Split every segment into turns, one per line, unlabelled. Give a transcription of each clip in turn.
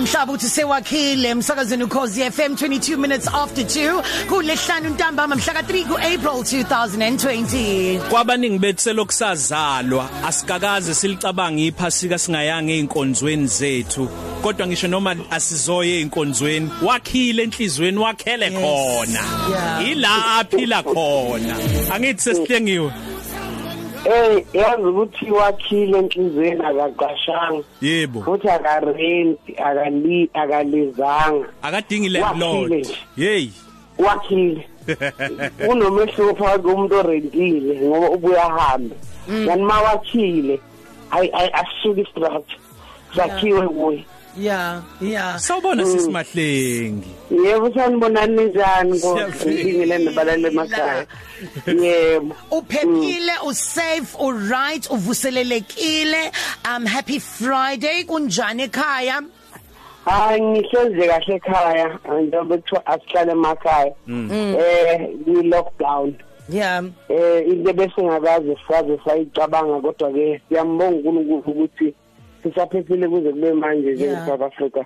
mhlaba uthi sewakhile emsakazweni ukhozi FM 22 minutes after 2 kulesihlanu ntambama mhla ka3 kuApril 2020
kwabaningi bethu selokusazalwa asikakaze silicabanga iphasika singayanga einkonzweni zethu kodwa ngisho noma asizoye einkonzweni wakhile enhlizweni wakhele khona
yeah.
ila aphila khona angithi sesihlengiwe
Eh yazi ukuthi wakhile enhlizweni akaqashanga
yebo
futhi akarenti akali akalizanga
akadingi
Wakhile
landlord
nje.
hey
wakhile unomehluko phakathi komuntu orentile ngoba ubuya hamba kanti ma wakhile ayi ayi- asisuki istructure zakhiwe kuye
yeah yeah
sawubona sisimahlengi
yebo sanibonani ninjani
Siyaphila.
ngibingile nabalala emakhaya yebo
uphephile usafe uright uvuselelekile um happy friday kunjani ekhaya
hayi ngihlezi kahle ekhaya njengoba kuthiwa asihlale emakhaya eh i-lockdown
yeah
eh into besingakaze saze sayicabanga kodwa ke siyambonga uNkulunkulu ukuthi sisaphephile kuze kube manje
Yeah.
njengeSouth Africa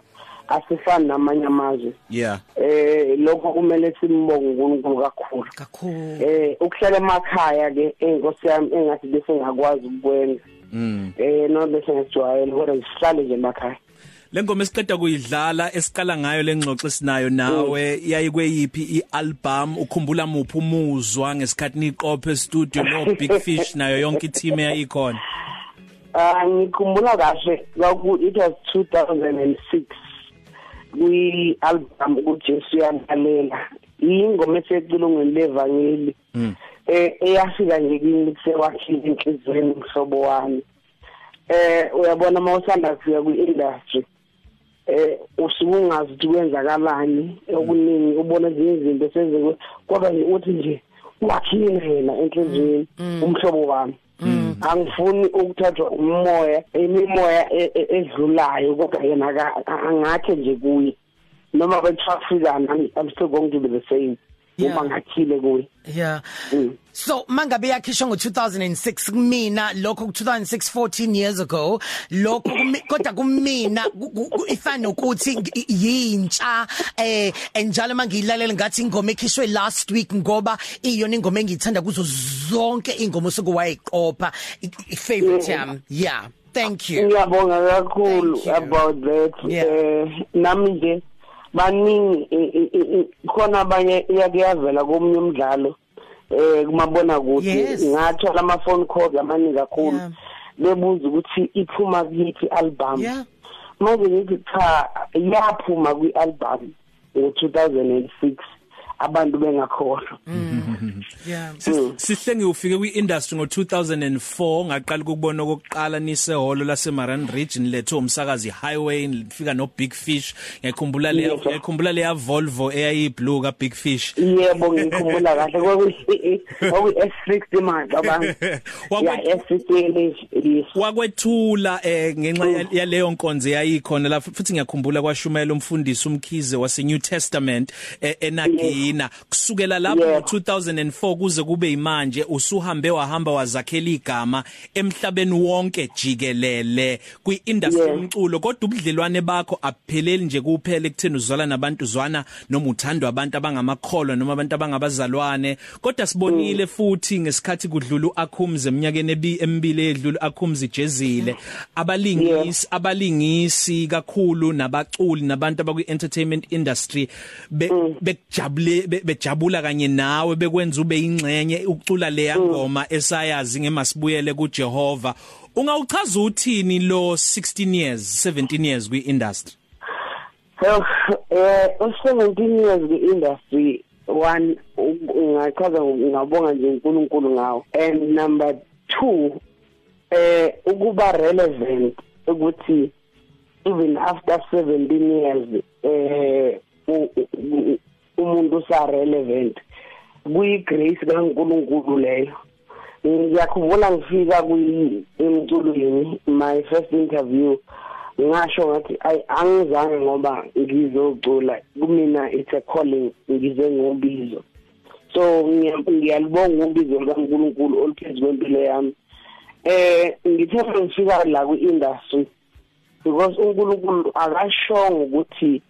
asifani namanye amazwe
yeah
eh lokho kumele simbonge uNkulunkulu kakhulu
kakhulu
eh ukuhlala emakhaya ke inkosi yami engathi bese ngakwazi ukwenza
mm
eh no bese ngijwayele kodwa ngihlale nje emakhaya
Lengoma esiqeda kuyidlala esiqala ngayo lengxoxo sinayo nawe yayi kweyiphi ialbum ukhumbula muphi umuzwa ngesikhathi niqophe studio no Big Fish nayo yonke team eyayikhona
Ah ngikhumbula kahle lokhu it was 2006 kwi album uJesu yamhalela ingoma esecilongweni levangeli eh eyafika nje kimi kusewakhile inhlizweni mhlobo wami eh uyabona mawusanda kufika kwi industry eh usuke ungazi ukuthi kwenzakalani okuningi ubona nje izinto senzeke kwaba nje uthi nje wakhile yena enhlizweni umhlobo wami angifuni ukuthathwa umoya imimoya e- e- edlulayo kodwa yena aka- angakhe nje kuye noma bethafikana I'm still going to be the same
Yeah.
uma ngakhile kuye
yeah
Mm.
So mangabe yakhishwa ngo2006 kumina lokho ku2006 14 years ago lokho kumi- kodwa kumina ku- ku- ku- ifana ukuthi yintsha eh enjalo mangiyilalela ngathi ingoma ekhishwe last week ngoba iyona ingoma engiyithanda kuzo zonke ingoma sokuwayiqopha i- i- favorite yam yeah thank you
ngiyabonga kakhulu
Thank you.
about that
Yeah.
eh nami nje baningi i- i- i- i- khona abanye iyakuyavela komunye umdlalo eh kumabona
Yes.
kude ngathola ama phone calls amaningi
Yeah.
kakhulu bebuza ukuthi iphuma kuyiphi album
yeah
manje ngithi cha yaphuma kwi-album ngo-2006 abantu bengakholwa
Mm. yeah
Mm.
sihlengi ufike kwi-industry ngo-2004 ngaqala ukubona okokuqala nisehholo laseMaran Region letho umsakazi highway nifika no-Big Fish ngiyakhumbula leya
Yes, sir.
ngiyakhumbula leya Volvo eyayiyiblue ka-Big Fish
yebo ngikhumbula kahle kwakuyi-s60 manje abantu
Wakwe-
ya s60
wakwethula eh ngenxa ya- yaleyo nkonzo yayikhona la futhi ngiyakhumbula kwashumayela umfundisi umkhize wase New Testament eh, enagina kusukela lapho
Yeah.
ngo2004 kuze kube imanje usuhambe wahamba wazakhela igama emhlabeni wonke jikelele kwiindustry
Yeah.
yomculo kodwa ubudlelwane bakho abupheleli nje kuphela ekutheni uzwala nabantu zwana noma uthandwa abantu abangamakholwa noma abantu abangabazalwane kodwa sibonile futhi ngesikhathi kudlula uAkhumze eminyakeni ebi- emibili edlula uAkhumze jezile abalingisi abalingisi kakhulu nabaculi nabantu abakwi entertainment industry be- bekujabule be- bejabula kanye nawe bekwenza ube ingcenye ukucula leya ngoma esayazi ngemasibuyele kuJehova Ungawuchaza uthini lo 16 years 17 years kwi-industry?
So eh u17 years ke industry one u- ungachaza ngabonga nje uNkulunkulu ngawo and number 2 eh ukuba relevant ukuthi even after 17 years eh u- u- u- umuntu usa relevant kuyi grace kaNkulunkulu leyo ngiyakhumbula ngifika kwi- emculweni my first interview ngasho ngathi ayi angizange ngoba ngizocula kumina it's a calling ngize ngobizo so ngiya- ngiyalibonga ubizo likaNkulunkulu oluphezu kwempilo yami eh ngithe ngifika la kwi-industry because uNkulunkulu akashongo ukuthi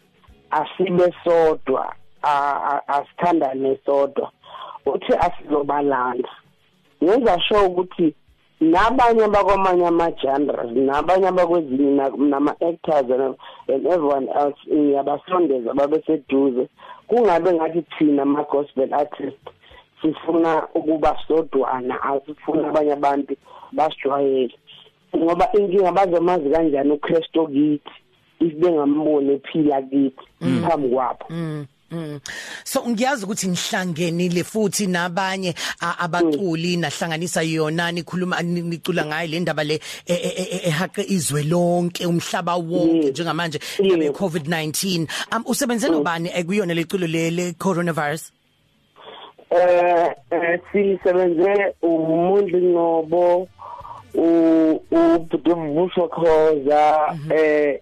asibe sodwa a- a- asithandane sodwa uthi asizobalanda ngenza sure ukuthi nabanye abakwamanye ama-genres nabanye abakwezinye na- nama-actors and- and everyone else ngiyabasondeza babeseduze kungabe ngathi thina ama-gospel artist sifuna ukuba sodwana asifuna abanye abantu basijwayele ngoba inkinga bazomazi kanjani uKristo kithi if bengamboni ephila kithi phambi kwabo
Mm, mm. so ngiyazi ukuthi nihlangenile futhi nabanye a- abaculi nahlanganisa yona nikhuluma ni- nicula ngayo le ndaba le e- e- e- e- ehaqe izwe lonke umhlaba wonke
Mm.
njengamanje
Mm.
ngabe covid-19 um usebenze nobani ekuyona leculo le le coronavirus
eh eh, sisebenze umuntu ngobo u ubudumbuso khoza eh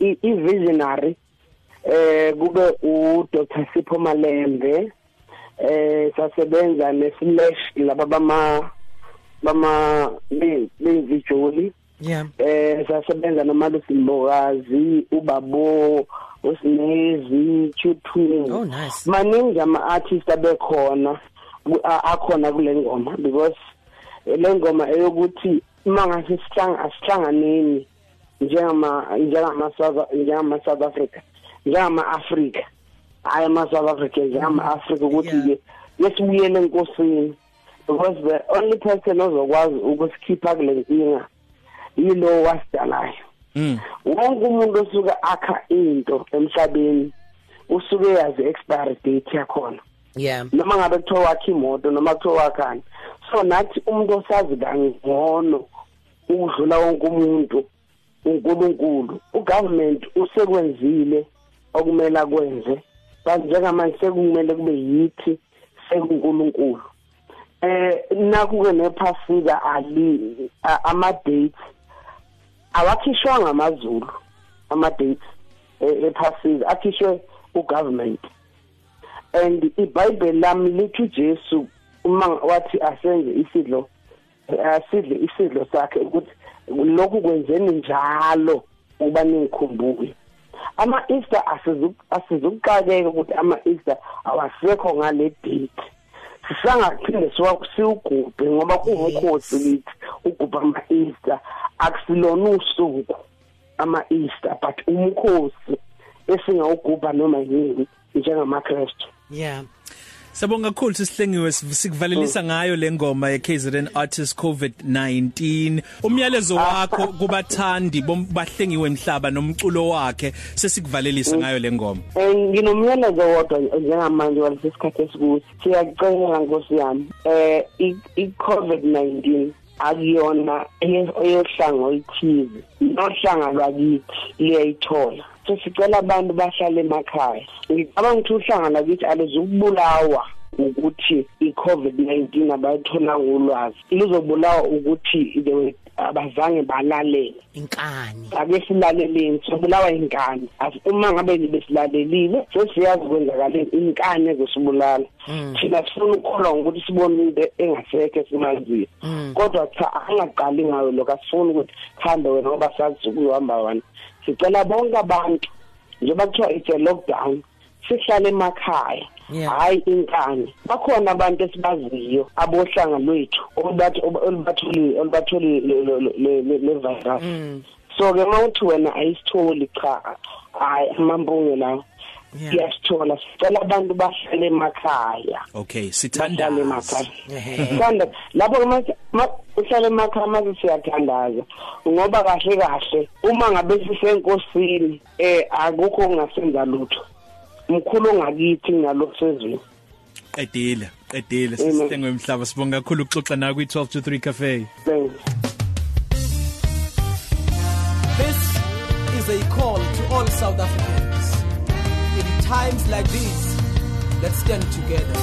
i i- visionary eh kube u Dr Sipho Malembe eh sasebenza ne Flash laba bama bama bezijoli
yeah
eh sasebenza nomalusi mbokazi ubabo usinezi chuthuni
Oh, nice.
maningi ama artist abekhona ku- a- akhona kule ngoma because eh, le ngoma eyokuthi mangase sihlanga asihlanganeni njengama njengama South njengama South Africa njengama Africa hayi ama South Africa njengama Africa ukuthi
Yeah.
ke yesibuyele enkosini because the only person ozokwazi ukusikhipha kule nkinga yilo wasidalayo
Mm.
wonke umuntu osuke akha into emhlabeni usuke yazi expiry date yakhona
yeah
noma ngabe kuthiwa wakha imoto noma kuthiwa wakhani so nathi umuntu osazi kangcono ukudlula wonke umuntu unkulunkulu ugovernment usekwenzile okumele akwenze kanti njengamanje sekumele kube yithi sekunkulunkulu eh naku-ke nephasika ali a- ama-dates awakhishwanga amazulu ama-dates e- ephasika akhishwe ugovernment and iBhayibheli lami lithi uJesu uma wathi asenze isidlo asidle isidlo sakhe ukuthi lokhu kwenzeni njalo uba ningikhumbuke ama Easter asizu- asizukuqakeka ukuthi ama Easter awasekho ngale date sisangaphinde siwa- siwugubhe ngoba kungukhosi kithi ugubhe ama Easter akusilona usuku ama Easter but umkhosi esingawugubha noma yini njengamaKristu
yeah
Sabonga kakhulu sisihlengiwe siv- sikuvalelisa ngayo le ngoma ye KZN Artist COVID-19. Umyalezo wakho kubathandi bom- bahlengiwe emhlaba nomculo wakhe sesikuvalelisa ngayo le ngoma.
Eh, nginomyalezo wodwa njengamanje walesi sikhathi esikuthi siyacela nkosi yami eh i- i-covid-19 akuyona eye- eyohlanga oluthize nohlanga lwakithi liyayithola so sicela abantu bahlale emakhaya ngicabanga ukuthi uhlanga lwakithi aluzukubulawa ukuthi i-covid-19 abayithola ulwazi luzobulawa ukuthi they were- abazange balalele
inkani
ake silaleleni sobulawa inkani As- uma ngabe besilalelile sesiyazi kwenzakaleni inkani ezosibulala thina sifuna ukukholwa ngokuthi sibone into engasekho simanzile kodwa cha angaqali ngayo lokho asifuni ukuthi khambe wena ngoba sazi ukuhamba wena sicela bonke abantu njengoba kuthiwa it's a lockdown sihlale emakhaya
Yeah.
hayi inkani bakhona abantu esibaziyo abohlanga lwethu olubath- olubatholi olubatholi le- le- le- le- le virus
Mm.
so ke mawuthi wena ayisitholi cha hayi amambunge lawo
Yeah.
siyasithola sicela abantu bahlale emakhaya
Okay, Ah,
bahlale
sithandaza.
emakhaya
Ehhe.
sanda lapho ma- ma- uhlale emakhaya mase siyathandaza ngoba kahle kahle uma ngabe sisenkosini eh akukho ongasenza lutho mkhulu ongakithi nalo sezweni
Qedile, qedile
Amen.
sisihlengiwe emhlaba. Sibonga kakhulu ukuxoxa nawe kwi 12 to 3 cafe.
thanks
This is a call to all South Africans. In times like these, let's stand together.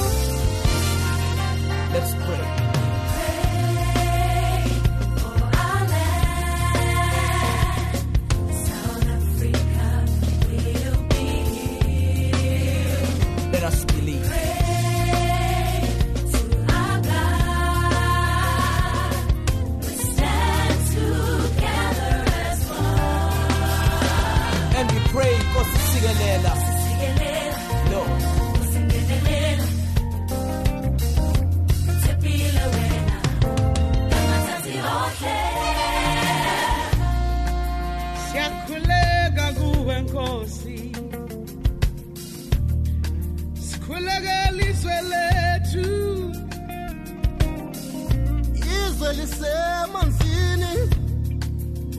Let's pray. Let us believe.
Stand together as one. selisemanzini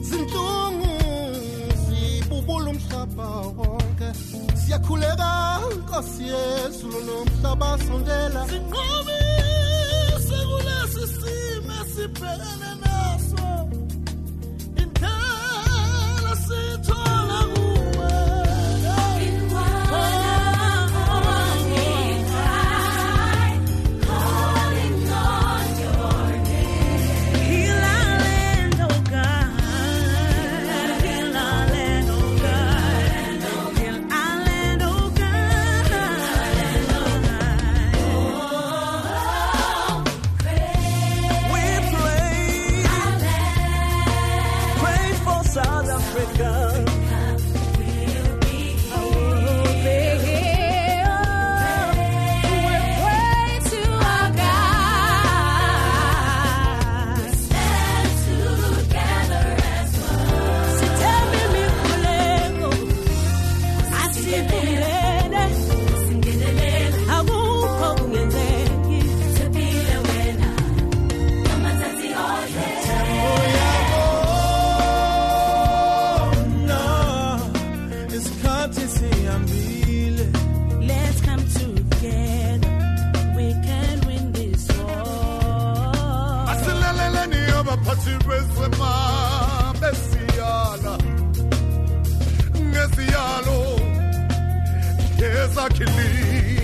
zintungu zibubula umhlaba wonke siyakhuleka nkosi yezulu nomhlaba sondela sinqobise kulesi simo sibhekene naso indlela sithola kuwe
Heal our land, oh God. Heal our land, oh God. Heal our land, oh God. We pray, pray for South Africa.
isikhathi sihambile
Let's come together. We can win this war.
asilaleleni abaphathi bezema besiyala ngeziyalo ngezakhilini